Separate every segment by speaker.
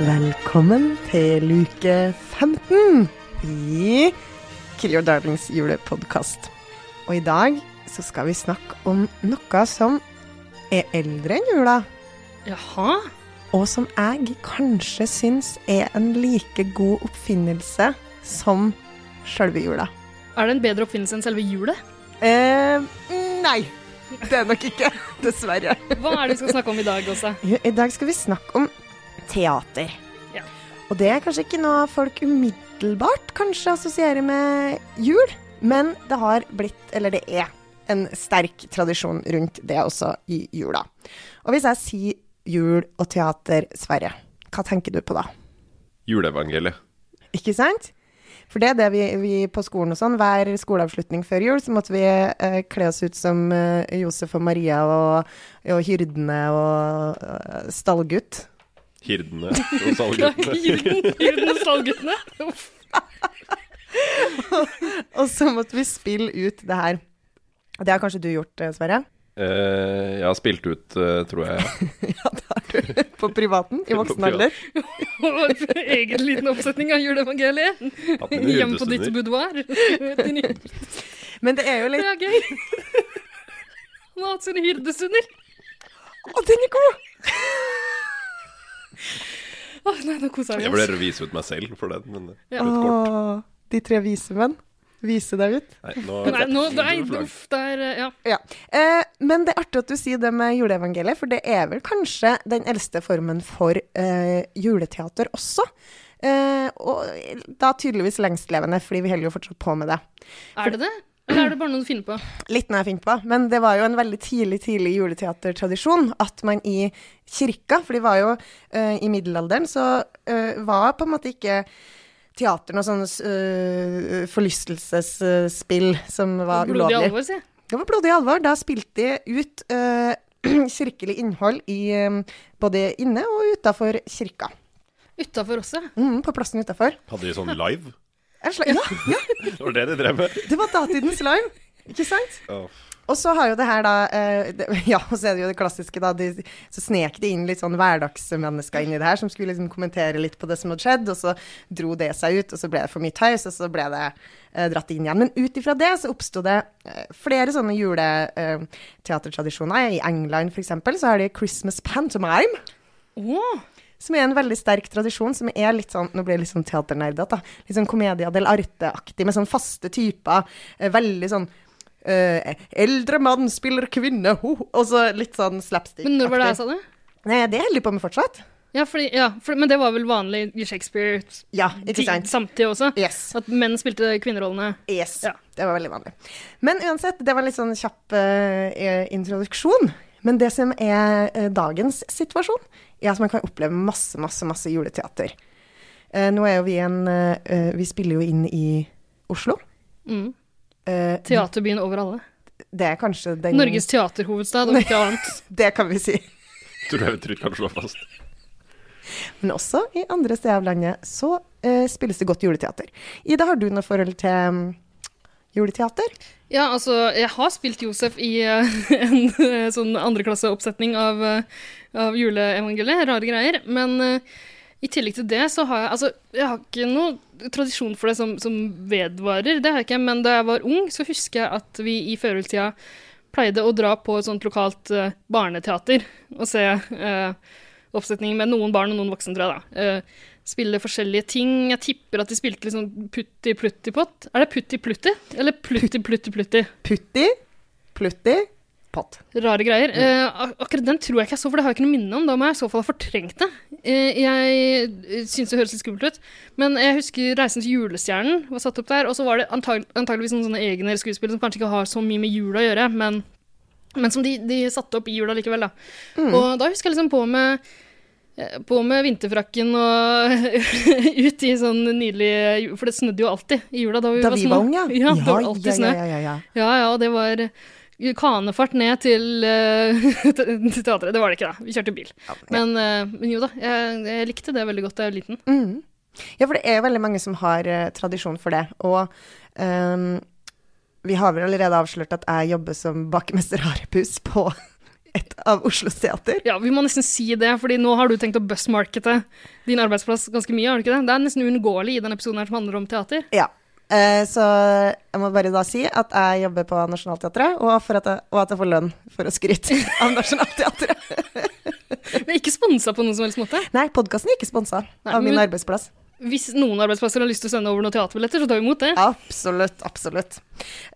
Speaker 1: Velkommen til uke 15 i Kill Your Darlings julepodkast. Og i dag så skal vi snakke om noe som er eldre enn jula,
Speaker 2: Jaha.
Speaker 1: og som jeg kanskje syns er en like god oppfinnelse som sjølve jula.
Speaker 2: Er det en bedre oppfinnelse enn selve hjulet?
Speaker 1: Eh, nei. Det er nok ikke. Dessverre.
Speaker 2: Hva er det vi skal snakke om i dag også?
Speaker 1: Jo, I dag skal vi snakke om teater.
Speaker 2: Ja.
Speaker 1: Og det er kanskje ikke noe folk umiddelbart kanskje assosierer med jul, men det har blitt, eller det er, en sterk tradisjon rundt det også i jula. Og hvis jeg sier jul og teater, Sverre, hva tenker du på da?
Speaker 3: Juleevangeliet.
Speaker 1: Ikke sant? For det er det vi, vi på skolen og sånn, hver skoleavslutning før jul, så måtte vi eh, kle oss ut som eh, Josef og Maria og, og hyrdene og eh, stallgutt.
Speaker 3: Hirdene og salguttene.
Speaker 2: Hyrden og stallguttene? Uff.
Speaker 1: Og så måtte vi spille ut det her. Det har kanskje du gjort, eh, Sverre?
Speaker 3: Eh, jeg har spilt ut, eh, tror jeg.
Speaker 1: Ja, det har du. På privaten? I
Speaker 3: På
Speaker 1: voksen
Speaker 3: privat.
Speaker 1: alder?
Speaker 2: Egen liten oppsetning av juleevangeliet.
Speaker 3: Hatt mine
Speaker 2: Hjemme på ditt
Speaker 3: hyrdestunder.
Speaker 2: boudoir. Din hyrde.
Speaker 1: Men det er jo
Speaker 2: Det
Speaker 1: litt
Speaker 2: er gøy. Han har hatt sine hyrdestunder.
Speaker 1: Å, den er god!
Speaker 2: Åh, nei, nå koser vi
Speaker 3: Jeg
Speaker 2: oss.
Speaker 3: vurderer å vise ut meg selv for den, men det
Speaker 2: Ja.
Speaker 3: er litt kort.
Speaker 1: Åh, de tre vise menn. Vise deg ut.
Speaker 3: Nei, nå,
Speaker 2: Nei, nå, nei,
Speaker 3: Flagg.
Speaker 2: uff, det er eh, Ja.
Speaker 1: Ja. Eh, men det er artig at du sier det med juleevangeliet, for det er vel kanskje den eldste formen for eh, juleteater også. Eh, og da tydeligvis lengstlevende, fordi vi holder jo fortsatt på med det.
Speaker 2: Er det det? Eller er det bare noe du finner på?
Speaker 1: Litt når jeg finner på, men det var jo en veldig tidlig tidlig juleteatertradisjon at man i kirka, for de var jo eh, i middelalderen, så eh, var på en måte ikke teater noe sånn eh, forlystelsesspill som var
Speaker 2: Blodig
Speaker 1: ulovlig.
Speaker 2: alvor, si.
Speaker 1: Det var blodig alvor. Da spilte de ut eh, kirkelig innhold i, eh, både inne og utafor kirka.
Speaker 2: Utafor også.
Speaker 1: Mm, på plassen utafor.
Speaker 3: Hadde de sånn live?
Speaker 1: Ja, ja,
Speaker 3: Det var det de drev med?
Speaker 1: det var datidens lime, ikke sant?
Speaker 3: Åh,
Speaker 1: Og så har jo det her da eh, det, Ja, og så er det jo det klassiske, da. De, så snek de inn litt sånn hverdagsmennesker inn i det her, som skulle liksom kommentere litt på det som hadde skjedd, og så dro det seg ut, og så ble det for mye tøys, og så ble det eh, dratt inn igjen. Men ut ifra det så oppsto det eh, flere sånne juleteatertradisjoner. I England, for eksempel, så har de Christmas pantomime.
Speaker 2: Åh,
Speaker 1: Som er en veldig sterk tradisjon, som er litt sånn Nå blir jeg litt sånn teaternerdete, da. Litt sånn Commedia del Arte-aktig, med sånn faste typer. eh, Veldig sånn eh, Eldre mann spiller kvinne, ho! Og så litt sånn slapstick.
Speaker 2: Men når var det jeg sa det?
Speaker 1: Nei, det holder de på med fortsatt.
Speaker 2: Ja, fordi, ja for, men det var vel vanlig i Shakespeare
Speaker 1: Ja, ikke
Speaker 2: tid-
Speaker 1: sant?
Speaker 2: samtidig også?
Speaker 1: Yes.
Speaker 2: At menn spilte kvinnerollene?
Speaker 1: Yes.
Speaker 2: Ja.
Speaker 1: Det var veldig vanlig. Men uansett, det var en litt sånn kjapp eh, introduksjon. Men det som er eh, dagens situasjon, er at man kan oppleve masse, masse, masse juleteater. Eh, nå er jo vi en eh, eh, Vi spiller jo inn i Oslo.
Speaker 2: Mm.
Speaker 1: Eh,
Speaker 2: Teaterbyen over alle.
Speaker 1: det er kanskje den
Speaker 2: Norges teaterhovedstad og ikke annet.
Speaker 1: Det kan vi si.
Speaker 3: tror jeg vi trygt kan slå fast.
Speaker 1: Men også i andre steder av landet så eh, spilles det godt juleteater. Ida, har du noe forhold til mm, juleteater?
Speaker 2: Ja, altså, jeg har spilt Josef i eh, en eh, sånn andreklasseoppsetning av, uh, av juleevangeliet. Rare greier. Men eh, i tillegg til det så har jeg Altså, jeg har ikke noe tradisjon for det som, som vedvarer, det har jeg ikke. Men da jeg var ung, så husker jeg at vi i førjulstida pleide å dra på et sånt lokalt eh, barneteater og se eh, oppsetning med noen barn og noen voksne, tror jeg, da. Eh, spille forskjellige ting. Jeg tipper at de spilte liksom Putti Plutti Pott. Er det Putti Plutti? Eller Plutti Plutti Plutti?
Speaker 1: Putti, plutti, pott.
Speaker 2: Rare greier.
Speaker 1: Mm.
Speaker 2: Eh, ak- akkurat den tror jeg ikke jeg så, for det har jeg ikke noe minne om. Da må jeg i så fall ha fortrengt det. Eh, jeg syns det høres litt skummelt ut, men jeg husker 'Reisen til julestjernen' var satt opp der, og så var det antag antageligvis noen sånne egne skuespill som kanskje ikke har så mye med jula å gjøre, men, men som de, de satte opp i jula likevel, da.
Speaker 1: Mm.
Speaker 2: Og da husker jeg liksom på med eh, på med vinterfrakken og ut i sånn nydelig ju- For det snødde jo alltid i jula da vi
Speaker 1: Da
Speaker 2: var
Speaker 1: vi
Speaker 2: små.
Speaker 1: var unge,
Speaker 2: ja. det var alltid snø.
Speaker 1: ja, ja, ja.
Speaker 2: Ja, ja, og det var kanefart ned til, eh, til til teatret. Det var det ikke, da. Vi kjørte bil. Men, eh, men jo da, jeg, jeg likte det veldig godt da jeg var liten.
Speaker 1: Mm. Ja, for det er veldig mange som har eh, tradisjon for det. Og ehm, vi har vel allerede avslørt at jeg jobber som bakemester Harepus på et av Oslos teater.
Speaker 2: Ja, Vi må nesten si det, fordi nå har du tenkt å bussmarkete din arbeidsplass ganske mye. har du ikke Det Det er nesten uunngåelig i denne episoden her som handler om teater.
Speaker 1: Ja. Eh, så jeg må bare da si at jeg jobber på Nationaltheatret, og, for at jeg, og at jeg får lønn for å skryte av Nationaltheatret.
Speaker 2: Men ikke sponsa på noen som helst måte.
Speaker 1: Nei, podkasten er ikke sponsa
Speaker 2: Nei,
Speaker 1: av min
Speaker 2: men-
Speaker 1: arbeidsplass.
Speaker 2: Hvis noen arbeidsplasser har lyst til å sende over noen teaterbilletter, så tar vi imot det.
Speaker 1: Absolutt, absolutt.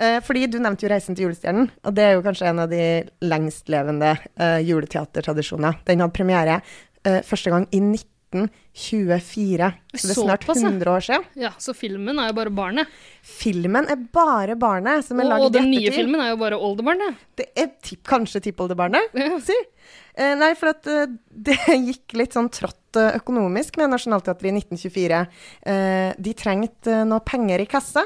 Speaker 1: Eh, fordi du nevnte jo 'Reisen til julestjernen', og det er jo kanskje en av de lengstlevende eh, juleteatertradisjoner. Den hadde premiere eh, første gang i 1924, så det er snart
Speaker 2: Såpass, ja.
Speaker 1: 100 år siden.
Speaker 2: Ja, Så filmen er jo bare barnet.
Speaker 1: Filmen er bare barnet som er
Speaker 2: Og, og
Speaker 1: laget i
Speaker 2: den nye
Speaker 1: ettertid.
Speaker 2: filmen er jo bare oldebarnet.
Speaker 1: Det er tipp, kanskje tippoldebarnet,
Speaker 2: Ja.
Speaker 1: si. Eh, nei, for at eh, det gikk litt sånn trått eh, økonomisk med Nationaltheatret i 1924. Eh, de trengte eh, noe penger i kassa.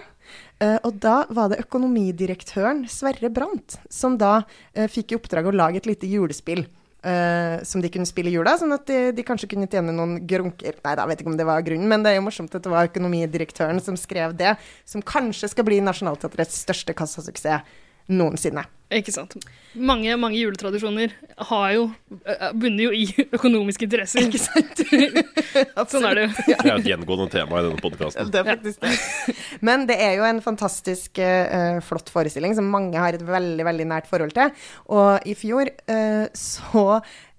Speaker 1: Eh, og da var det økonomidirektøren Sverre Brandt som da eh, fikk i oppdrag å lage et lite julespill. eh, som de kunne spille i jula, sånn at de, de kanskje kunne tjene noen grunker. Nei, da vet jeg ikke om det var grunnen, men det er jo morsomt at det var økonomidirektøren som skrev det, som kanskje skal bli Nationaltheatrets største kassasuksess noensinne.
Speaker 2: Ikke sant. Mange, mange juletradisjoner har jo, eh, bunner jo i økonomiske interesser. Ikke sant? sånn er det jo.
Speaker 3: Det er et gjengående tema i denne podkasten.
Speaker 1: Det er faktisk det. Men det er jo en fantastisk eh, flott forestilling som mange har et veldig, veldig nært forhold til. Og i fjor eh, så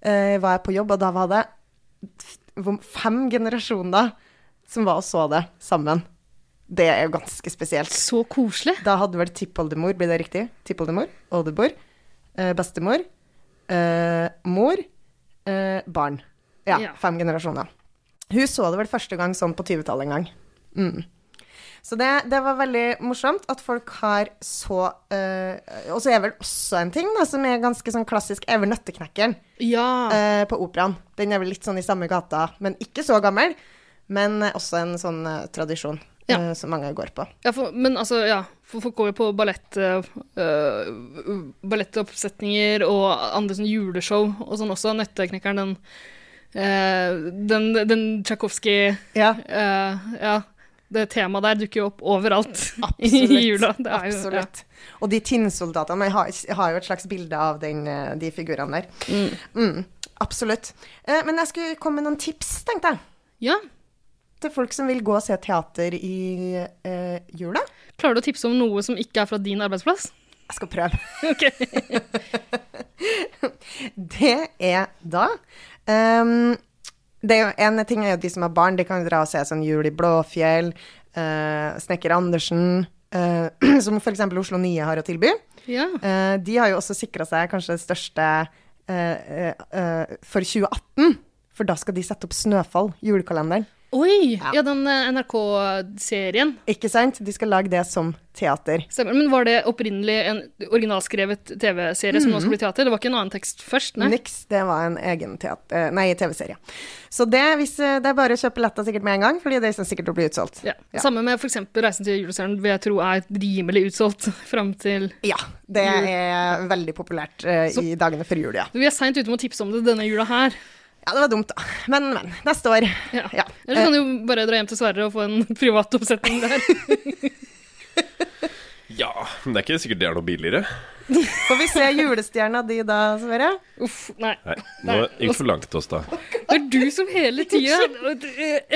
Speaker 1: eh, var jeg på jobb, og da var det f- hvor- fem generasjoner som var og så det sammen. Det er jo ganske spesielt.
Speaker 2: Så koselig.
Speaker 1: Da hadde vel tippoldemor, blir det riktig? Tippoldemor, oldemor, eh, bestemor, eh, mor, eh, barn. Ja,
Speaker 2: Ja.
Speaker 1: fem generasjoner. Hun så det vel første gang sånn på 20-tallet en gang. Mm. Så det, det var veldig morsomt at folk har så eh, Og så er vel også en ting da, som er ganske sånn klassisk, er vel Nøtteknekkeren
Speaker 2: Ja.
Speaker 1: eh, på operaen. Den er vel litt sånn i samme gata, men ikke så gammel. Men eh, også en sånn eh, tradisjon
Speaker 2: Ja.
Speaker 1: eh, som mange går på.
Speaker 2: for, men altså, ja. For folk går jo på ballett, eh, øh, ballettoppsetninger og andre sånn juleshow og sånn også. Nøtteknekkeren, den, eh, den, den Tsjajkovskij
Speaker 1: Ja,
Speaker 2: eh, Ja. Det temaet der dukker jo opp overalt
Speaker 1: Absolutt.
Speaker 2: i jula. Det er jo, ja.
Speaker 1: Absolutt. Og de tinnsoldatene jeg har, jeg har jo et slags bilde av den, eh, de figurene der. Mm, absolutt. Eh, Men jeg skulle komme med noen tips, tenkte jeg.
Speaker 2: ja.
Speaker 1: Til folk som vil gå og se teater i eh, jula.
Speaker 2: Klarer du å tipse om noe som ikke er fra din arbeidsplass?
Speaker 1: Jeg skal prøve.
Speaker 2: Ok.
Speaker 1: Det er da ehm, det er jo, En ting er jo at de som har barn, de kan jo dra og se sånn Jul i Blåfjell, eh, Snekker Andersen, eh, som f.eks. Oslo Nye har å tilby.
Speaker 2: Ja.
Speaker 1: Eh, de har jo også sikra seg kanskje det største eh, eh, eh, for 2018. For da skal de sette opp Snøfall, julekalenderen.
Speaker 2: Oi!
Speaker 1: Ja.
Speaker 2: Ja, den eh, NRK-serien.
Speaker 1: Ikke sant? De skal lage det som teater.
Speaker 2: Stemmer. Men var det opprinnelig en originalskrevet TV-serie som nå skal bli
Speaker 1: Mhm.
Speaker 2: teater? Det var ikke en annen tekst først? Nei.
Speaker 1: Niks, det var en egen teater, eh, nei, TV-serie. Så det, hvis, eh, det er bare å kjøpe billetter sikkert med en gang, fordi det er sikkert å bli utsolgt.
Speaker 2: Ja.
Speaker 1: Ja.
Speaker 2: Samme med f.eks. 'Reisen til julestjernen', vil jeg tro er rimelig utsolgt fram til
Speaker 1: Ja, det er veldig populært eh, i dagene før jul, ja.
Speaker 2: Vi er seint ute med å tipse om det denne jula her.
Speaker 1: Ja, det var dumt, da. Men, men. Neste år.
Speaker 2: Ja.
Speaker 1: Ja. Eh.
Speaker 2: Eller så kan du jo bare dra hjem til Sverre og få en privat oppsetning der.
Speaker 3: Ja, men det er ikke sikkert det er noe billigere.
Speaker 1: Får vi se julestjerna di da, Sverre?
Speaker 2: Uff, nei.
Speaker 3: Nei, nå gikk for langt oss, da.
Speaker 2: Det er du som hele tida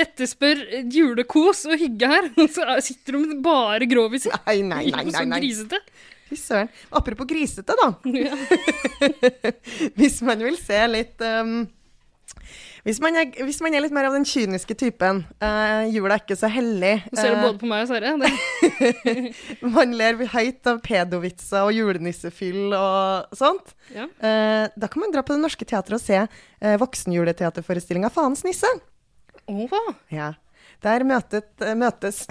Speaker 2: etterspør eh, julekos og hygge her, og så sitter du med bare groviser.
Speaker 1: Nei, nei, nei.
Speaker 2: Ikke
Speaker 1: nei,
Speaker 2: Så
Speaker 1: nei.
Speaker 2: grisete.
Speaker 1: Fy søren. Apropos grisete, da. Hvis man vil se litt um, Hvis man, er, hvis man er litt mer av den kyniske typen, eh, jula er ikke så hellig
Speaker 2: Du ser det
Speaker 1: eh,
Speaker 2: både på meg og Sverre. Det,
Speaker 1: Man ler høyt av pedovitser og julenissefyll og sånt.
Speaker 2: ja.
Speaker 1: Eh, da kan man dra på Det Norske Teatret og se eh, voksenjuleteaterforestillinga Faens nisse.
Speaker 2: Åh,
Speaker 1: Ja. Der møtet, eh, møtes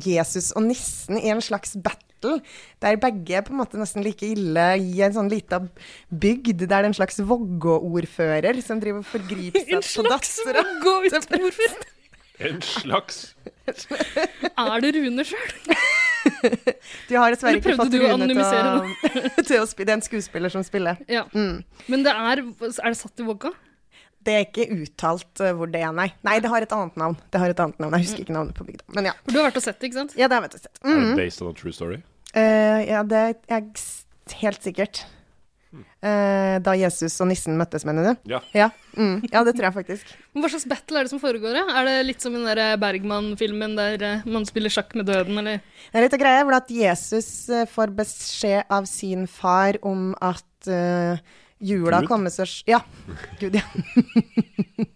Speaker 1: Jesus og nissen i en slags battle, der begge er på en måte nesten like ille i en sånn lita bygd, der det er en slags Vågå-ordfører som driver og forgriper
Speaker 2: en
Speaker 1: seg på
Speaker 2: slags
Speaker 1: dattera.
Speaker 2: gå ut Hvorfor?
Speaker 3: En slags
Speaker 2: Er det Rune sjøl?
Speaker 1: De har dessverre
Speaker 2: Eller
Speaker 1: ikke
Speaker 2: prøvde
Speaker 1: fått
Speaker 2: du
Speaker 1: Rune
Speaker 2: å
Speaker 1: til
Speaker 2: anonymisere
Speaker 1: å, til å spille. Det er en skuespiller som spiller.
Speaker 2: Ja.
Speaker 1: Mm.
Speaker 2: Men det er Er det satt i Vågå?
Speaker 1: Det er ikke uttalt eh, hvor det er, nei. Nei, det har et annet navn. Det har et annet navn. Jeg husker ikke navnet på bygda. Men ja.
Speaker 2: For du har vært og sett det, ikke sant?
Speaker 1: Ja, det har jeg sett.
Speaker 3: Er
Speaker 1: Mm.
Speaker 3: det based on a true story?
Speaker 1: Eh, ja, det er jeg s- helt sikkert. Eh, da Jesus og nissen møttes, mener du?
Speaker 3: Ja.
Speaker 1: Ja, mm. ja det tror jeg faktisk.
Speaker 2: Men Hva slags battle er det som foregår? da? Er det litt som i den der eh, Bergman-filmen der eh, man spiller sjakk med døden, eller
Speaker 1: Det er litt av greia, for at Jesus eh, får beskjed av sin far om at eh, jula
Speaker 3: Gud?
Speaker 1: kommer så s- Ja, Gud, ja.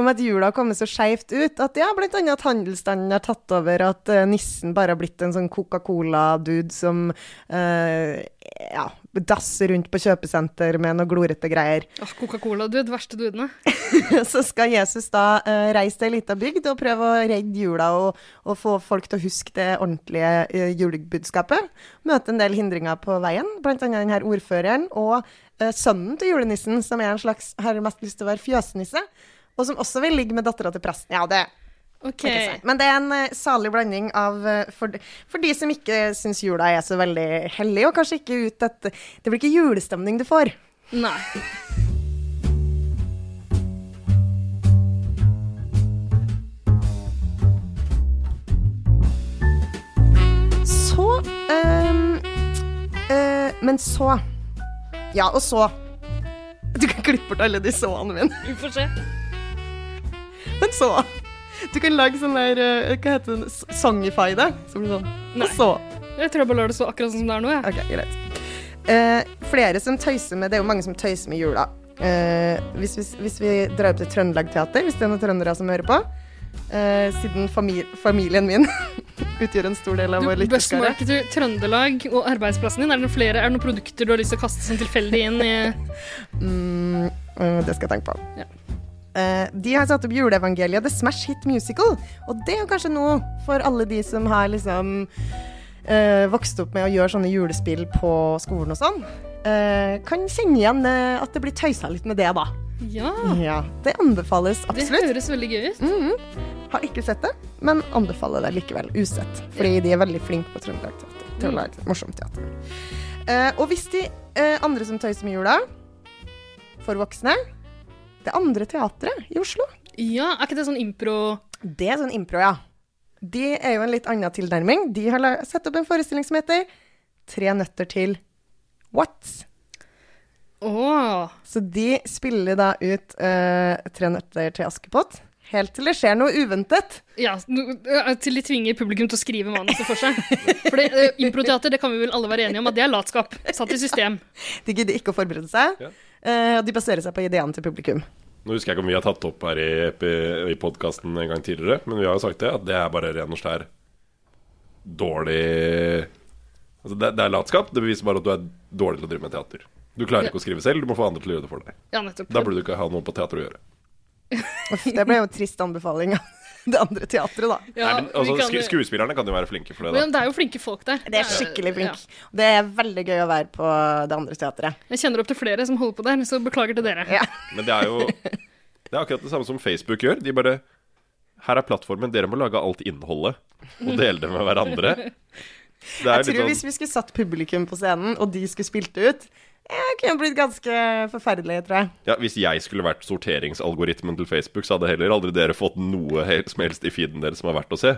Speaker 1: om at jula kommer så skeivt ut. At ja, blant annet at handelsstanden har tatt over, at eh, nissen bare har blitt en sånn Coca-Cola-dude som eh, ja, dasser rundt på kjøpesenter med noe glorete greier.
Speaker 2: Åh, Coca-Cola? Du er de verste duene.
Speaker 1: Så skal Jesus da eh, reise til ei lita bygd og prøve å redde jula og, og få folk til å huske det ordentlige eh, julebudskapet. Møte en del hindringer på veien, blant annet den her ordføreren og eh, sønnen til julenissen, som er en slags har mest lyst til å være fjøsnisse, og som også vil ligge med dattera til presten. Ja, det
Speaker 2: Ok.
Speaker 1: er ikke sant. Men det er en eh, salig blanding av eh, for, de- for de som ikke syns jula er så veldig hellig, og kanskje ikke ut at Det blir ikke julestemning du får.
Speaker 2: Nei.
Speaker 1: Så ehm, eh, Men så Ja, og så Du kan klippe bort alle de så-ene mine.
Speaker 2: Vi får se.
Speaker 1: Men så Du kan lage sånn der eh, Hva heter det? Songify det? Så blir det sånn.
Speaker 2: Nei.
Speaker 1: Og så
Speaker 2: Jeg tror jeg bare lar det stå akkurat sånn som det er nå. Jeg.
Speaker 1: Ok, greit. Eh, flere som tøyser med Det er jo mange som tøyser med jula. Eh, hvis, hvis, hvis vi drar opp til Trøndelag Teater, hvis det er noen trøndere som hører på. eh, siden fami familien min utgjør en stor del av vår
Speaker 2: Du
Speaker 1: lytterskare.
Speaker 2: Bussmarkedet, Trøndelag og arbeidsplassen din, er det noen flere, er det noen produkter du har lyst til å kaste sånn tilfeldig inn i
Speaker 1: Mm, øh, det skal jeg tenke på.
Speaker 2: Ja.
Speaker 1: Eh, de har satt opp juleevangeliet The Smash Hit Musical. Og det er jo kanskje noe for alle de som har liksom eh, vokst opp med å gjøre sånne julespill på skolen og sånn. Eh, kan kjenne igjen eh, at det blir tøysa litt med det, da.
Speaker 2: Ja,
Speaker 1: Ja, Det anbefales Mm.
Speaker 2: det
Speaker 1: absolutt.
Speaker 2: høres veldig gøy ut.
Speaker 1: Har ikke sett det, men anbefaler det likevel usett. Fordi de er veldig flinke på Trøndelag Teater. til å lage morsomt teater. Eh, og hvis de eh, andre som tøyser med jula, for voksne Det andre teatret i Oslo.
Speaker 2: Ja, er ikke det sånn impro
Speaker 1: Det er sånn impro, ja. De er jo en litt annen tilnærming. De har la- satt opp en forestilling som heter Tre nøtter til What?
Speaker 2: Åh,
Speaker 1: Så de spiller da ut eh, Tre nøtter til Askepott. Helt til det skjer noe uventet.
Speaker 2: Ja, no- eh, til de tvinger publikum til å skrive manuset for seg. For det, eh, improteater, det kan vi vel alle være enige om at det er latskap. Satt i system.
Speaker 1: De gidder ikke å forberede seg.
Speaker 3: Ja.
Speaker 1: eh, Og de baserer seg på ideene til publikum.
Speaker 3: Nå husker jeg ikke om vi har tatt opp her i, epi- i podkasten en gang tidligere, men vi har jo sagt det, at det er bare ren og skjær dårlig Altså, det, det er latskap. Det beviser bare at du er dårlig til å drive med teater. Du klarer ikke å skrive selv, du må få andre til å gjøre det for deg.
Speaker 2: Ja, nettopp.
Speaker 3: Da burde du ikke ha noe på teater å gjøre.
Speaker 1: Uff, det ble jo en trist anbefaling av det andre teatret, da.
Speaker 2: Ja,
Speaker 3: Nei, men, altså,
Speaker 2: vi kan-
Speaker 3: sku, skuespillerne kan jo være flinke for det, da.
Speaker 2: men det er jo flinke folk der.
Speaker 1: Det er skikkelig
Speaker 2: Ja.
Speaker 1: flink. Det er veldig gøy å være på det andre teatret.
Speaker 2: Jeg kjenner opp til flere som holder på der, så beklager til dere.
Speaker 1: Ja.
Speaker 3: Men det er jo Det er akkurat det samme som Facebook gjør. De bare Her er plattformen, dere må lage alt innholdet og dele det med hverandre. Det er
Speaker 1: Jeg tror
Speaker 3: jo litt
Speaker 1: hvis
Speaker 3: sånn
Speaker 1: vi skulle satt publikum på scenen, og de skulle spilt det ut, jeg kunne blitt ganske forferdelig, tror jeg.
Speaker 3: ja, Hvis jeg skulle vært sorteringsalgoritmen til Facebook, så hadde heller aldri dere fått noe helt som helst i feeden deres som er verdt å se.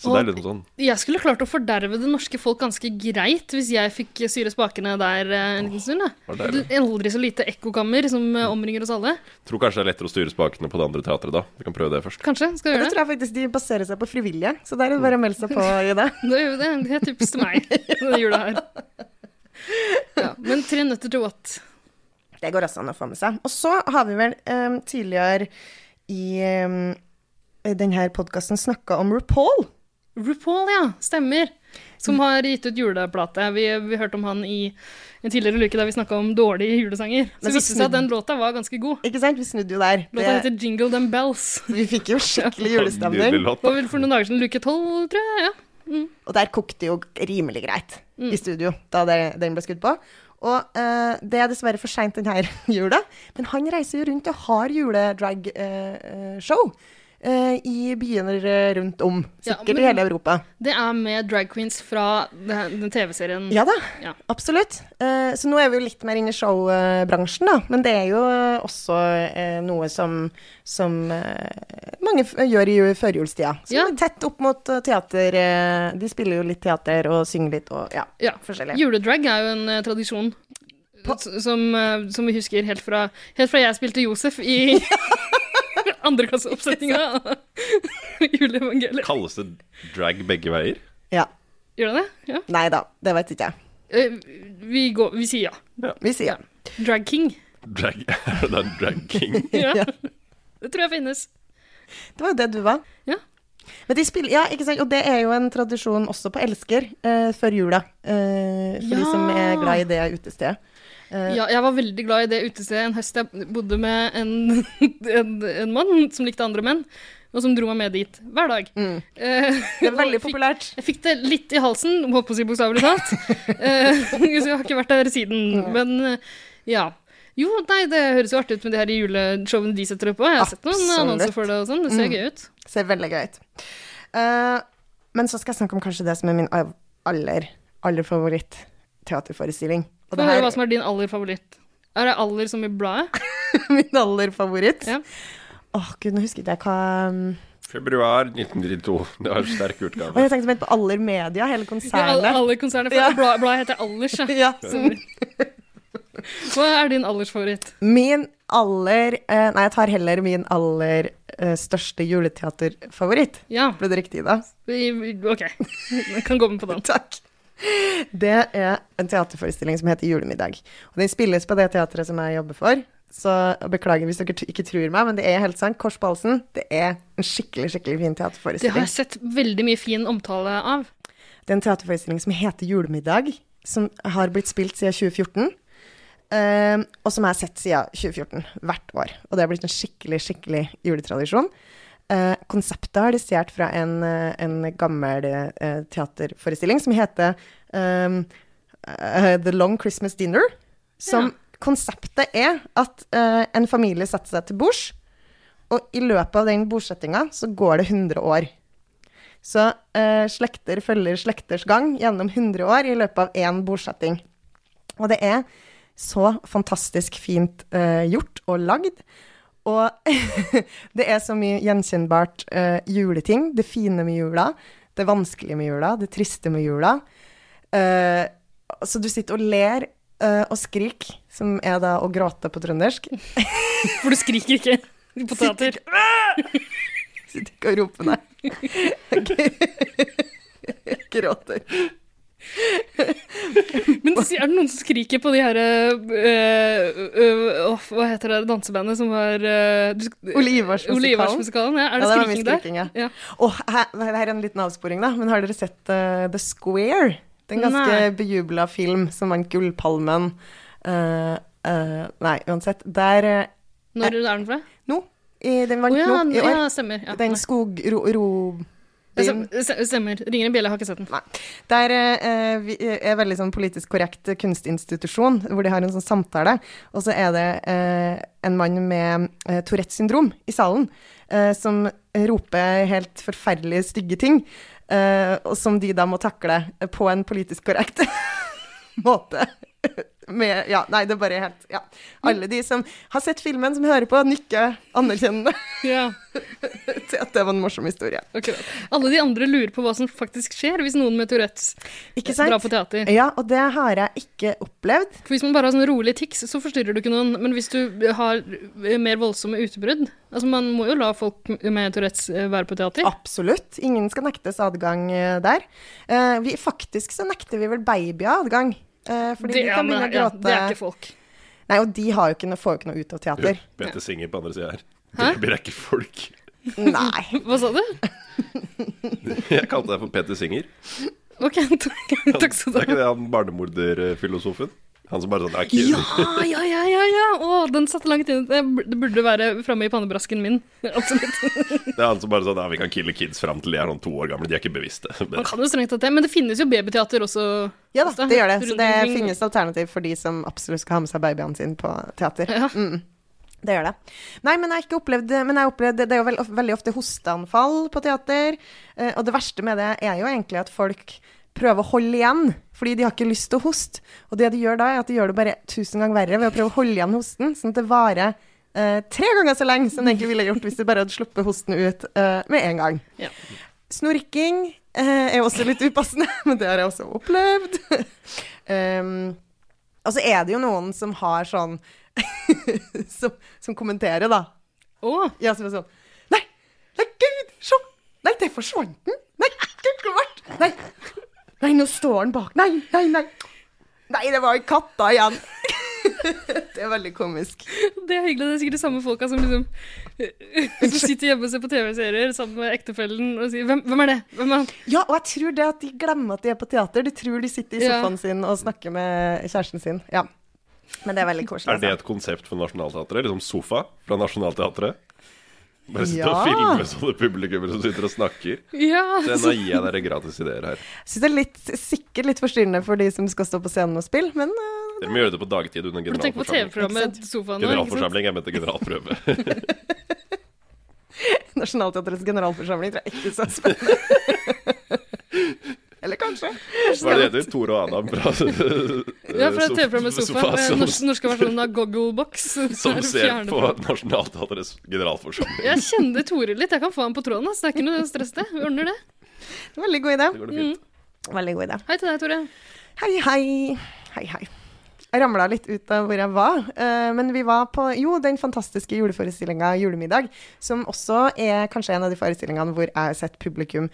Speaker 3: Så det er liksom sånn
Speaker 2: Jeg skulle klart å forderve det norske folk ganske greit hvis jeg fikk syre spakene der eh, en liten stund.
Speaker 3: var
Speaker 2: da.
Speaker 3: deilig.
Speaker 2: Aldri så lite ekkokammer som eh, omringer oss alle.
Speaker 3: Tror kanskje det er lettere å styre spakene på det andre teatret da. Vi kan prøve det først.
Speaker 2: Kanskje? Skal
Speaker 1: Det
Speaker 2: vi gjøre det?
Speaker 1: tror jeg faktisk de baserer seg på frivillige, så der er det bare å melde seg på i det.
Speaker 2: Da gjør vi det. Det er tips til meg denne jula her. Ja, men tre nøtter til what?
Speaker 1: Det går også an å få med seg. Og så har vi vel eh, tidligere i eh, denne podkasten snakka om RuPaul.
Speaker 2: RuPaul, ja. Stemmer. Som har gitt ut juleplate. Vi, vi hørte om han i en tidligere uke der vi snakka om dårlige julesanger. Så,
Speaker 1: Men så
Speaker 2: viste det seg
Speaker 1: snudd-
Speaker 2: at den låta var ganske god.
Speaker 1: Ikke sant? Vi snudde jo der.
Speaker 2: Låta
Speaker 1: Det,
Speaker 2: heter 'Jingle Them Bells'.
Speaker 1: vi fikk jo skikkelig
Speaker 3: Nydelig
Speaker 1: julestemning.
Speaker 3: låt.
Speaker 2: Det var vel for noen dager siden, luke tolv, tror jeg. ja.
Speaker 1: Og der kokte det jo rimelig greit
Speaker 2: Mm.
Speaker 1: i studio da det, den ble skutt på. Og eh, det er dessverre for seint denne jula, men han reiser jo rundt og har eh, juledragshow i byer eh, rundt om.
Speaker 2: Ja,
Speaker 1: Sikkert i
Speaker 2: men-
Speaker 1: hele Europa.
Speaker 2: Det er med drag queens fra den, den TV-serien.
Speaker 1: Ja da,
Speaker 2: Ja.
Speaker 1: absolutt. Eh, så nå er vi jo litt mer inne i showbransjen, da. Men det er jo eh, også eh, noe som, som eh, mange f gjør i ju- førjulstida. Som
Speaker 2: Ja.
Speaker 1: er tett opp mot eh, teater. eh, de spiller jo litt teater og synger litt og ja,
Speaker 2: Ja.
Speaker 1: forskjellig.
Speaker 2: Juledrag er jo en eh, tradisjon s- som, eh, som vi husker helt fra, helt fra jeg spilte Josef i andreklasseoppsetninga av Juleevangeliet.
Speaker 3: Kalles det drag begge veier?
Speaker 1: Ja.
Speaker 2: Gjør det det? Ja.
Speaker 1: Nei da, det vet ikke jeg.
Speaker 2: Eh, Vi, går, vi sier ja.
Speaker 1: Vi sier ja.
Speaker 2: Drag king.
Speaker 3: Drag, er det en drag king?
Speaker 2: Ja.
Speaker 1: Ja.
Speaker 2: Det tror jeg finnes.
Speaker 1: Det var jo det du var.
Speaker 2: Ja.
Speaker 1: Men de spiller, ja, ikke sant? Og det er jo en tradisjon også på Elsker eh, før jula. eh, for de
Speaker 2: Ja.
Speaker 1: som er glad i det utestedet. Eh,
Speaker 2: Ja, jeg var veldig glad i det utestedet en høst jeg bodde med en, en, en mann som likte andre menn, og som dro meg med dit hver dag.
Speaker 1: Det er veldig populært.
Speaker 2: Jeg fikk det litt i halsen, holdt på å si bokstavelig talt. Eh, så jeg har ikke vært der siden. Men eh, ja. Jo, nei, det høres jo artig ut med de her juleshowene de setter opp på. Jeg har sett noen
Speaker 1: Absolutt. Mm.
Speaker 2: annonser for det og sånn. Det ser gøy ut.
Speaker 1: Ser veldig gøy ut. Eh, men så skal jeg snakke om kanskje det som er min av- aller, aller favoritt teaterforestilling. Og
Speaker 2: Få
Speaker 1: det
Speaker 2: høre
Speaker 1: her
Speaker 2: hva som er din aller favoritt. Er det aller som i bladet?
Speaker 1: er min aller favoritt. Åh,
Speaker 2: Ja.
Speaker 1: gud, nå husker ikke jeg hva um,
Speaker 3: Februar 1992. Det var en sterk
Speaker 1: Og
Speaker 3: utgave.
Speaker 1: jeg tenkte mer på Aller Media, hele
Speaker 2: Ja, alle,
Speaker 1: konsernet.
Speaker 2: alle konsernet, for
Speaker 1: Ja.
Speaker 2: bladet bladet heter Allers. Ja.
Speaker 1: Ja.
Speaker 2: Hva er din allersfavoritt?
Speaker 1: Min aller eh, Nei, jeg tar heller min aller eh, største juleteaterfavoritt.
Speaker 2: Ja,
Speaker 1: Ble det riktig, da?
Speaker 2: vi- vi- ok. Jeg kan gå med på den.
Speaker 1: Takk. Det er en teaterforestilling som heter Julemiddag. Og den spilles på det teatret som jeg jobber for. Så beklager hvis dere t- ikke tror meg, men det er helt sant. Kors på halsen. Det er en skikkelig skikkelig fin
Speaker 2: Det har
Speaker 1: teaterforestilling.
Speaker 2: jeg sett veldig mye fin omtale av.
Speaker 1: Det er en teaterforestilling som heter Julemiddag, som har blitt spilt siden 2014. ehm, og som jeg har sett siden 2014, hvert år. Og det har blitt en skikkelig, skikkelig juletradisjon. Eh, konseptet har de stjålet fra en, eh, en gammel eh, teaterforestilling som heter ehm, eh, The Long Christmas Dinner. Som konseptet er at eh, en familie setter seg til bords, og i løpet av den bordsettinga så går det 100 år. Så eh, slekter følger slekters gang gjennom 100 år i løpet av én bordsetting. Og det er så fantastisk fint eh, gjort og lagd. Og det er så mye gjenkjennbart eh, juleting. Det fine med jula, det vanskelige med jula, det triste med jula. Eh, så du sitter og ler eh, og skriker, som er da å gråte på trøndersk.
Speaker 2: For du skriker ikke på teater.
Speaker 1: Sitter ikke og roper, nei. Jeg Gråter.
Speaker 2: Men si- er det noen som skriker på de her eh, eh, åh, Hva heter det dansebandet som var eh, du sk-
Speaker 1: Olivårsmusikalen.
Speaker 2: Olivårsmusikalen, Ja. Er
Speaker 1: Ja,
Speaker 2: det,
Speaker 1: det var mye
Speaker 2: skriking der?
Speaker 1: skriking, ja.
Speaker 2: ja.
Speaker 1: Og her, det her er en liten avsporing, da, men har dere sett eh, The Square? Det er en
Speaker 2: Nei.
Speaker 1: ganske bejubla film som vant Gullpalmen. Eh, eh, nei, uansett. Der eh,
Speaker 2: Når er den fra?
Speaker 1: Nå. I, den
Speaker 2: Å
Speaker 1: vant
Speaker 2: ja,
Speaker 1: nå i år.
Speaker 2: ja, stemmer. Ja.
Speaker 1: Den
Speaker 2: Nei. Det
Speaker 1: skogrobyen
Speaker 2: stem- se- Stemmer. Ringer en bjelle, jeg har ikke sett den.
Speaker 1: Nei. Der eh, vi er veldig sånn politisk korrekt kunstinstitusjon, hvor de har en sånn samtale, og så er det eh, en mann med eh, Tourettes syndrom i salen, eh, som roper helt forferdelige stygge ting, eh, og som de da må takle på en politisk korrekt måte. Med, ja, nei, det er bare helt ja. Alle de som har sett filmen, som hører på, nikker anerkjennende
Speaker 2: Ja,
Speaker 1: til at det var en morsom historie.
Speaker 2: akkurat. Alle de andre lurer på hva som faktisk skjer hvis noen med Tourettes
Speaker 1: Ikke sant?
Speaker 2: drar på teater.
Speaker 1: Ja, og det har jeg ikke opplevd.
Speaker 2: For Hvis man bare har sånn rolig tics, så forstyrrer du ikke noen. Men hvis du har eh, mer voldsomme utbrudd Altså, man må jo la folk med Tourettes eh, være på teater.
Speaker 1: Ah, Absolutt. Ingen skal nektes adgang eh, der. Eh, vi, faktisk så nekter vi vel babyer adgang. eh, fordi
Speaker 2: Det-
Speaker 1: de
Speaker 2: ja,
Speaker 1: kan
Speaker 2: men-
Speaker 1: begynne å
Speaker 2: ja,
Speaker 1: gråte.
Speaker 2: det er ikke folk.
Speaker 1: Nei, og de har jo ikke noe, får jo ikke noe ut av teater.
Speaker 3: Bente Singer på andre sida her. Baby er ikke folk.
Speaker 1: Nei.
Speaker 2: Hva sa du?
Speaker 3: Jeg kalte deg for Peter Singer.
Speaker 2: Ok, takk, takk skal du
Speaker 3: Det
Speaker 2: ha.
Speaker 3: er ikke det han barnemorderfilosofen? Han som bare sånn er ikke
Speaker 2: Ja, ja, ja, ja, ja. Å, den satt langt inn. Det bur- det burde være framme i pannebrasken min. Absolutt.
Speaker 3: Det er han som bare sånn Ja, vi kan kille kids fram til de er sånn to år gamle, de er ikke bevisste.
Speaker 2: Man
Speaker 3: Men
Speaker 2: kan jo strengt tatt det, men det finnes jo babyteater også.
Speaker 1: Ja da,
Speaker 2: Gustav,
Speaker 1: det gjør det. Så
Speaker 2: rundt
Speaker 1: det
Speaker 2: omkring.
Speaker 1: finnes alternativ for de som absolutt skal ha med seg babyene sine på teater.
Speaker 2: Ja.
Speaker 1: Mm. Det gjør det. Nei, men jeg har ikke opplevd det. Men jeg har opplevd det, det er jo vel, veldig ofte hosteanfall på teater. Eh, og det verste med det er jo egentlig at folk prøver å holde igjen, fordi de har ikke lyst til å hoste. Og det de gjør da, er at de gjør det bare tusen ganger verre ved å prøve å holde igjen hosten, sånn at det varer eh, tre ganger så lenge som det egentlig ville gjort hvis de bare hadde sluppet hosten ut eh, med en gang.
Speaker 2: Ja.
Speaker 1: Snorking eh, er jo også litt upassende, men det har jeg også opplevd. um, og så er det jo noen som har sånn som, som kommenterer, da.
Speaker 2: Å,
Speaker 1: Ja, som er sånn Nei, nei, gud, se! Nei, der forsvant den! Nei, gud, hvor ble den? Nei, nei, nå står den bak. Nei, nei, nei. Nei, det var jo katta igjen. det er veldig komisk.
Speaker 2: det er hyggelig. Det er sikkert de samme folka som liksom som sitter hjemme og ser på TV-serier sammen med ektefellen og sier hvem, 'Hvem er det?' Hvem er han?
Speaker 1: Ja, og jeg tror det at de glemmer at de er på teater. De tror de sitter i
Speaker 2: Ja.
Speaker 1: sofaen sin og snakker med kjæresten sin. Ja. Men det er veldig koselig.
Speaker 3: er det
Speaker 1: altså.
Speaker 3: et konsept for Nationaltheatret? Liksom sofa fra Nationaltheatret? Bare sitte og
Speaker 1: Ja.
Speaker 3: filme sånne publikummere som sitter og snakker.
Speaker 2: Ja,
Speaker 3: Se, nå gir jeg dere gratis ideer her.
Speaker 1: Jeg synes det er litt, sikkert litt forstyrrende for de som skal stå på scenen og spille, men eh,
Speaker 3: Dere må gjøre det på dagtid under
Speaker 2: For du tenker på
Speaker 3: generalforsamling.
Speaker 2: TV-programmet Sofaen nå, ikke sant?
Speaker 3: Generalforsamling, jeg mente generalprøve.
Speaker 1: Nationaltheatrets generalforsamling tror jeg ikke er så spennende. Eller kanskje.
Speaker 3: Hva er det heter? Tore og Adam fra
Speaker 2: Ja, fra
Speaker 3: sof-
Speaker 2: TV-programmet Sofaen. eh,
Speaker 3: som,
Speaker 2: Norsk, norske versjonen av Gogglebox.
Speaker 3: som
Speaker 2: Der
Speaker 3: ser
Speaker 2: fjerner
Speaker 3: på
Speaker 2: fra-
Speaker 3: Nationaltheatrets generalforsamling.
Speaker 2: Jeg kjenner Tore litt. Jeg kan få han på tråden. ass. Det er ikke noe stress, det. Vi ordner det.
Speaker 1: Veldig god idé. Mm.
Speaker 3: Det går det fint.
Speaker 1: Veldig god idé.
Speaker 2: Hei til deg, Tore.
Speaker 1: Hei, hei. Hei, hei. Jeg ramla litt ut av hvor jeg var, eh, men vi var på jo, den fantastiske juleforestillinga 'Julemiddag', som også er kanskje en av de forestillingene hvor jeg har sett publikum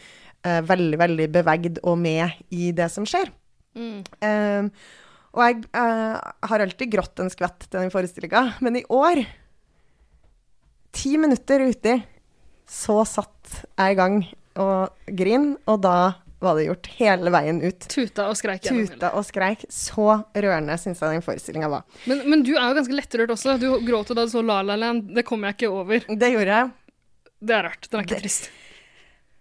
Speaker 1: eh, veldig, veldig bevegd og med i det som skjer. Eh, og jeg eh, har alltid grått en skvett til den forestillinga, men i år, ti minutter uti, så satt jeg i gang og grin, og da var det gjort hele veien ut
Speaker 2: Tuta og skreik. gjennom hele.
Speaker 1: tuta og skreik. Så rørende syns jeg den forestillinga var.
Speaker 2: Men, men du er jo ganske lettrørt også. Du gråt jo da du så La La Land. Det kommer jeg ikke over.
Speaker 1: Det gjorde jeg.
Speaker 2: Det er rart. Den er ikke trist.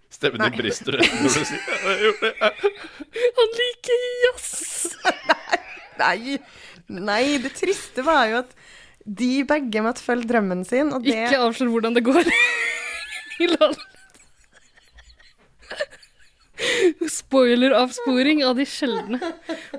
Speaker 3: Stemmen din brister når du sier «Jeg har gjort det».
Speaker 2: Han liker jazz!
Speaker 1: Nei, nei, det triste var jo at de begge måtte følge drømmen sin, og det
Speaker 2: Ikke avslør hvordan det går i La La Land. Spoiler-avsporing av de sjeldne.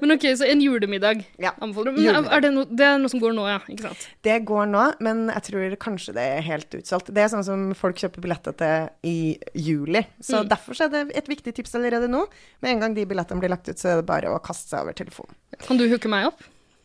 Speaker 2: Men OK, så en julemiddag
Speaker 1: Ja,
Speaker 2: anbefaler du. Men er- er det, noe- det er noe som går nå, ja? Ikke sant?
Speaker 1: Det går nå, men jeg tror kanskje det er helt utsolgt. Det er sånn som folk kjøper billetter til i juli. Så
Speaker 2: Mm.
Speaker 1: derfor så er det et viktig tips allerede nå. Med en gang de billettene blir lagt ut, så er det bare å kaste seg over telefonen.
Speaker 2: Kan du hooke meg opp?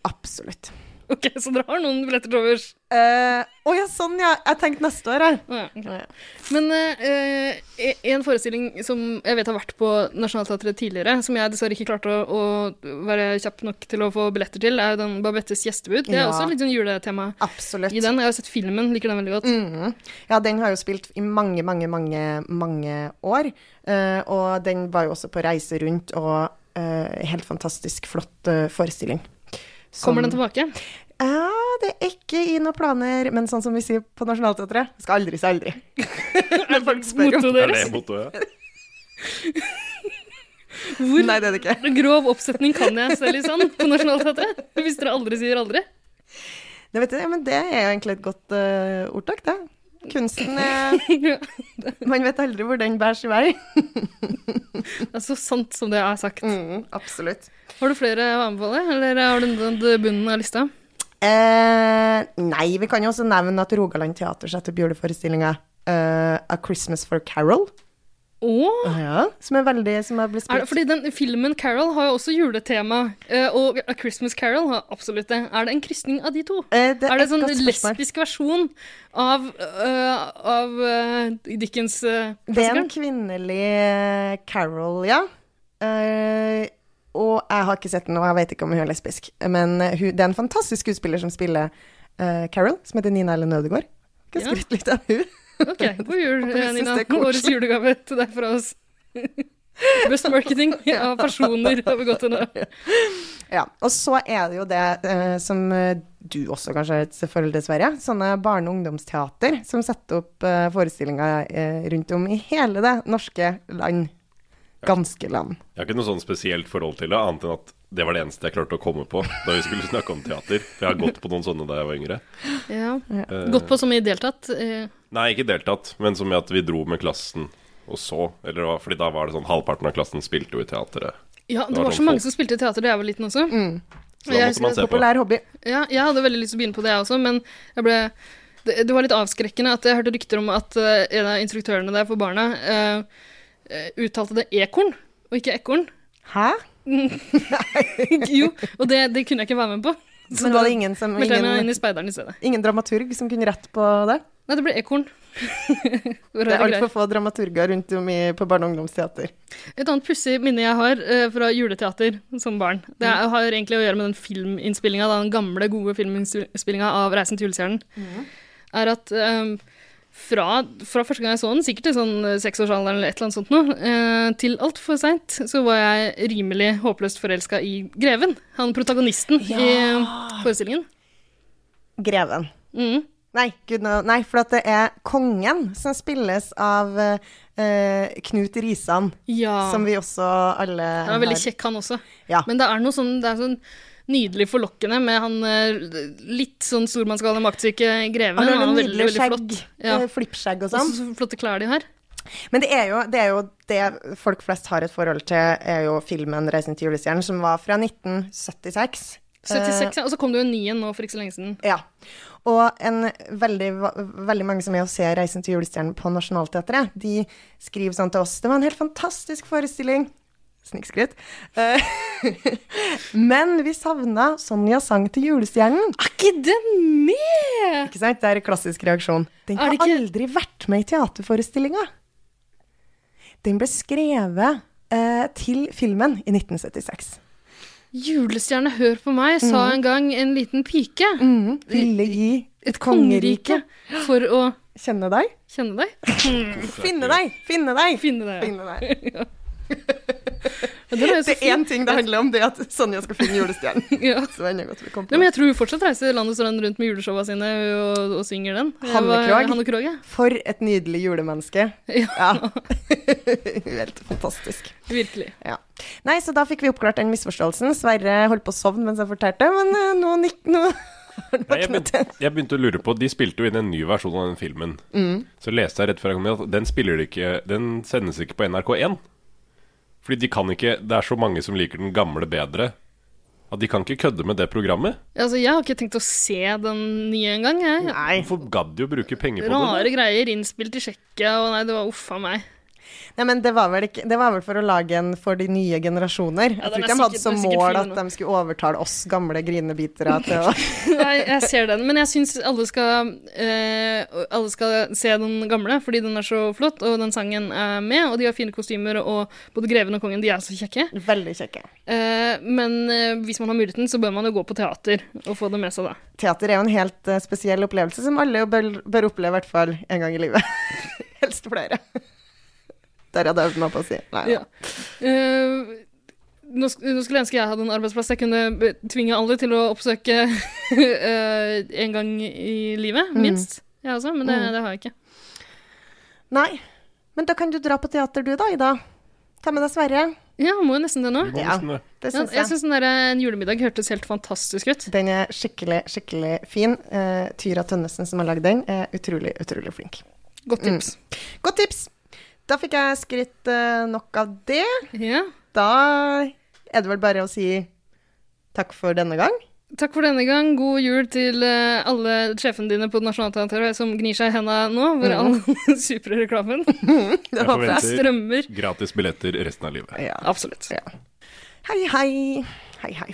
Speaker 1: Absolutt.
Speaker 2: Ok, Så dere har noen billetter til overs?
Speaker 1: Eh, Å ja, sånn ja. Jeg tenkte neste år, jeg.
Speaker 2: Å ja, ok. Men eh, eh, en forestilling som jeg vet har vært på Nationaltheatret tidligere, som jeg dessverre ikke klarte å, å være kjapp nok til å få billetter til, er jo den Babettes gjestebud. Det er
Speaker 1: Ja.
Speaker 2: også litt sånn juletema
Speaker 1: Absolutt.
Speaker 2: i den. Jeg har sett filmen, liker den veldig godt.
Speaker 1: Mhm. Ja, den har jo spilt i mange, mange, mange, mange år. Eh, og den var jo også på reise rundt, og eh, helt fantastisk flott eh, forestilling. Som-
Speaker 2: Kommer den tilbake?
Speaker 1: Ja, det er ikke i noen planer, men sånn som vi sier på Nationaltheatret, skal aldri si aldri. Når folk spør om
Speaker 2: Mottoet
Speaker 3: Er det
Speaker 2: deres.
Speaker 3: mottoet? ja?
Speaker 2: Hvor
Speaker 1: Nei, det er det ikke.
Speaker 2: grov oppsetning kan jeg se litt sånn på Nationaltheatret? Hvis dere aldri sier aldri.
Speaker 1: Nei, vet du, ja, men det er jo egentlig et godt eh, ordtak, det. Kunsten er
Speaker 2: Ja,
Speaker 1: Man vet aldri hvor den bærer i vei.
Speaker 2: Det er så sant som det er sagt.
Speaker 1: Mhm, absolutt.
Speaker 2: Har du flere å anbefale, eller har du den den bunnen av lista?
Speaker 1: Eh, nei, vi kan jo også nevne at Rogaland Teater setter opp juleforestillinga eh, A Christmas for Carol.
Speaker 2: Åh!
Speaker 1: Som er veldig Som har blitt
Speaker 2: Ah, Er det,
Speaker 1: spilt
Speaker 2: fordi den filmen Carol har jo også juletema, eh, og A Christmas Carol har absolutt det. Er det en krysning av de to?
Speaker 1: Eh, det
Speaker 2: Er det
Speaker 1: et
Speaker 2: en sånn
Speaker 1: godt spørsmål.
Speaker 2: lesbisk versjon av, eh, av eh, Dickens uh,
Speaker 1: Det er en kvinnelig eh, Carol, ja. Eh, Og jeg har ikke sett den, og jeg vet ikke om hun er lesbisk. Men eh, hun, det er en fantastisk skuespiller som spiller eh, Carol, som heter Nina Ellen Ødegaard. Kan
Speaker 2: Ja.
Speaker 1: skryte litt av hun.
Speaker 2: Ok, god jul,
Speaker 1: Håper du synes
Speaker 2: Nina.
Speaker 1: det er koselig.
Speaker 2: Årets julegave til deg fra oss. Best marketing av personer har vi gått gjennom.
Speaker 1: Ja, og så er det jo det eh, som eh, du også kanskje har et forhold til, Sverre. Sånne barne- og ungdomsteater som setter opp eh, forestillinger eh, rundt om i hele det norske land. Ganske land.
Speaker 3: Jeg har ikke noe sånn spesielt forhold til det, annet enn at det var det eneste jeg klarte å komme på da vi skulle snakke om teater. For jeg har gått på noen sånne da jeg var yngre.
Speaker 2: Ja. Gått på som i deltatt. eh,
Speaker 3: Nei, ikke deltatt, men som i at vi dro med klassen og så. Eller, det var- fordi da var det sånn halvparten av klassen spilte jo i teatret.
Speaker 2: Ja, det
Speaker 3: var
Speaker 2: var
Speaker 3: sånn
Speaker 2: så mange
Speaker 3: folk-
Speaker 2: som spilte teater da jeg var liten også.
Speaker 3: Så da
Speaker 2: Jeg
Speaker 3: måtte man se på.
Speaker 1: Populær hobby.
Speaker 2: Ja, jeg hadde veldig lyst til å begynne på det, jeg også, men jeg ble det, det var litt avskrekkende at jeg hørte rykter om at eh, en av instruktørene der for barna eh, eh, uttalte det ekorn, og ikke ekorn.
Speaker 1: Hæ?
Speaker 2: jo, og det, det kunne jeg ikke være med på. Så
Speaker 1: Men var det ingen som
Speaker 2: da meldte jeg meg
Speaker 1: ingen,
Speaker 2: inn i speideren i stedet.
Speaker 1: ingen dramaturg som kunne rette på det?
Speaker 2: Nei, det ble ekorn.
Speaker 1: Det er altfor få dramaturger rundt om i, på barne- og ungdomsteater.
Speaker 2: Et annet pussig minne jeg har eh, fra juleteater som barn, det
Speaker 1: Mm.
Speaker 2: er, har egentlig å gjøre med den filminnspillinga, da, den gamle, gode filminnspillinga av 'Reisen til julestjernen',
Speaker 1: Mm.
Speaker 2: er at eh, fra, fra første gang jeg så den, sikkert i sånn eh, seksårsalderen eller et eller annet sånt noe, eh, til altfor seint, så var jeg rimelig håpløst forelska i Greven, han protagonisten i eh, forestillingen.
Speaker 1: Greven.
Speaker 2: Mhm.
Speaker 1: Nei, gud, nå- nei, for at det er kongen som spilles av eh, eh, Knut Risan,
Speaker 2: Ja.
Speaker 1: som vi også alle
Speaker 2: Ah. Han er veldig kjekk, han også.
Speaker 1: Ja.
Speaker 2: Men det er noe sånn, det er sånn nydelig forlokkende med han eh, litt sånn stormannsgale maktsyke greven.
Speaker 1: Han har noe
Speaker 2: er veldig,
Speaker 1: nydelig
Speaker 2: veldig
Speaker 1: skjegg,
Speaker 2: flott. Ja.
Speaker 1: eh, flippskjegg og
Speaker 2: Og
Speaker 1: sånn.
Speaker 2: så flotte klær de har.
Speaker 1: Men det er, jo, det er jo det folk flest har et forhold til, er jo filmen 'Reisen til julestjernen', som var fra 1976.
Speaker 2: 76,
Speaker 1: Eh.
Speaker 2: ja. Og så kom det jo en ny en nå for ikke så lenge siden.
Speaker 1: Ja. Og en veldig, veldig mange som er og ser 'Reisen til julestjernen' på Nationaltheatret, de skriver sånn til oss 'Det var en helt fantastisk forestilling'. Snikskryt. Eh, Men vi savna Sonja sang til julestjernen.
Speaker 2: Er ikke den Ah, med?!
Speaker 1: Ikke sant? Det er en klassisk reaksjon. Den
Speaker 2: Er
Speaker 1: har
Speaker 2: det ikke-
Speaker 1: aldri vært med i teaterforestillinga. Den ble skrevet eh, til filmen i 1976.
Speaker 2: Julestjerne, hør på meg, sa en gang en liten pike.
Speaker 1: Mm. Ville gi et kongerike.
Speaker 2: For å
Speaker 1: Kjenne deg.
Speaker 2: kjenne deg.
Speaker 1: Finne deg! Finne deg!
Speaker 2: Finne deg.
Speaker 1: Finne deg.
Speaker 2: Ja, den er jo så
Speaker 1: Det er én
Speaker 2: fin.
Speaker 1: ting det handler om, det er at Sonja skal finne julestjernen.
Speaker 2: Ja.
Speaker 1: Så ender godt vi kom
Speaker 2: Ja,
Speaker 1: på
Speaker 2: men
Speaker 1: det.
Speaker 2: jeg tror hun fortsatt reiser land og strand rundt med juleshowa sine og, og synger den. Jeg
Speaker 1: Hanne
Speaker 2: var-
Speaker 1: Krogh.
Speaker 2: Hanne Krogh, ja.
Speaker 1: For et nydelig julemenneske.
Speaker 2: Ja.
Speaker 1: Helt fantastisk.
Speaker 2: Virkelig.
Speaker 1: Ja. Nei, så da fikk vi oppklart den misforståelsen. Sverre holdt på å sovne mens jeg fortalte, men eh, nå nikk... Nå.
Speaker 3: Nei, jeg, begynte, jeg begynte å lure på De spilte jo inn en ny versjon av den filmen. Så leste jeg rett før jeg kom inn at den, spiller de ikke, den sendes ikke på NRK1. Fordi de kan ikke Det er så mange som liker den gamle bedre. At de kan ikke kødde med det programmet.
Speaker 2: Altså, jeg har ikke tenkt å se den nye engang. jeg.
Speaker 1: Nei.
Speaker 3: Hvorfor gadd de å bruke penger på det?
Speaker 2: Rare greier, innspilt i Tsjekkia, og nei, det var uff a meg.
Speaker 1: Nei, men det var, vel ikke, det var vel for å lage en for de nye generasjoner.
Speaker 2: Ja,
Speaker 1: Jeg tror
Speaker 2: den er
Speaker 1: ikke de hadde
Speaker 2: sikkert-
Speaker 1: som
Speaker 2: den er sikkert
Speaker 1: mål
Speaker 2: fin,
Speaker 1: at
Speaker 2: den
Speaker 1: de skulle overtale oss gamle grinebitere til å
Speaker 2: Nei, jeg ser den, men jeg syns alle, skal, eh, alle skal se den gamle, fordi den er så flott, og den sangen er med, og de har fine kostymer, og både greven og kongen, de er så kjekke.
Speaker 1: Veldig kjekke.
Speaker 2: Eh, men eh, hvis man har muligheten, så bør man jo gå på teater og få det med seg da.
Speaker 1: Teater er jo en helt eh, spesiell opplevelse som alle jo bør, bør oppleve i hvert fall en gang i livet. Helst flere. Der hadde jeg øvd meg på å si. Nei,
Speaker 2: Ja. Eh, nå, sk nå skulle jeg ønske jeg hadde en arbeidsplass jeg kunne be- tvinge alle til å oppsøke eh, en gang i livet, minst. Jeg også, men det, det har jeg ikke.
Speaker 1: Nei. Men da kan du dra på teater du da, Ida. Ta med deg Sverre.
Speaker 2: Ja, må jo nesten det nå.
Speaker 3: Vi må
Speaker 1: Ja.
Speaker 3: nesten det.
Speaker 1: Det
Speaker 2: Ja,
Speaker 1: syns
Speaker 2: jeg
Speaker 1: jeg.
Speaker 2: syns den der eh, En julemiddag hørtes helt fantastisk ut.
Speaker 1: Den er skikkelig, skikkelig fin. Eh, Tyra Tønnesen som har lagd den, er utrolig, utrolig flink.
Speaker 2: Godt tips.
Speaker 1: Godt tips! Da fikk jeg skrytt eh, nok av det.
Speaker 2: Ja.
Speaker 1: Da er det vel bare å si takk for denne gang.
Speaker 2: Takk for denne gang. God jul til eh, alle sjefene dine på Nationaltheatret som gnir seg i henda nå, hvor all superreklamen
Speaker 1: Det
Speaker 3: Jeg
Speaker 1: håper jeg.
Speaker 3: forventer
Speaker 2: strømmer.
Speaker 3: gratis billetter resten av livet.
Speaker 1: Ja.
Speaker 2: Absolutt.
Speaker 1: Ja. Hei, hei. Hei, hei.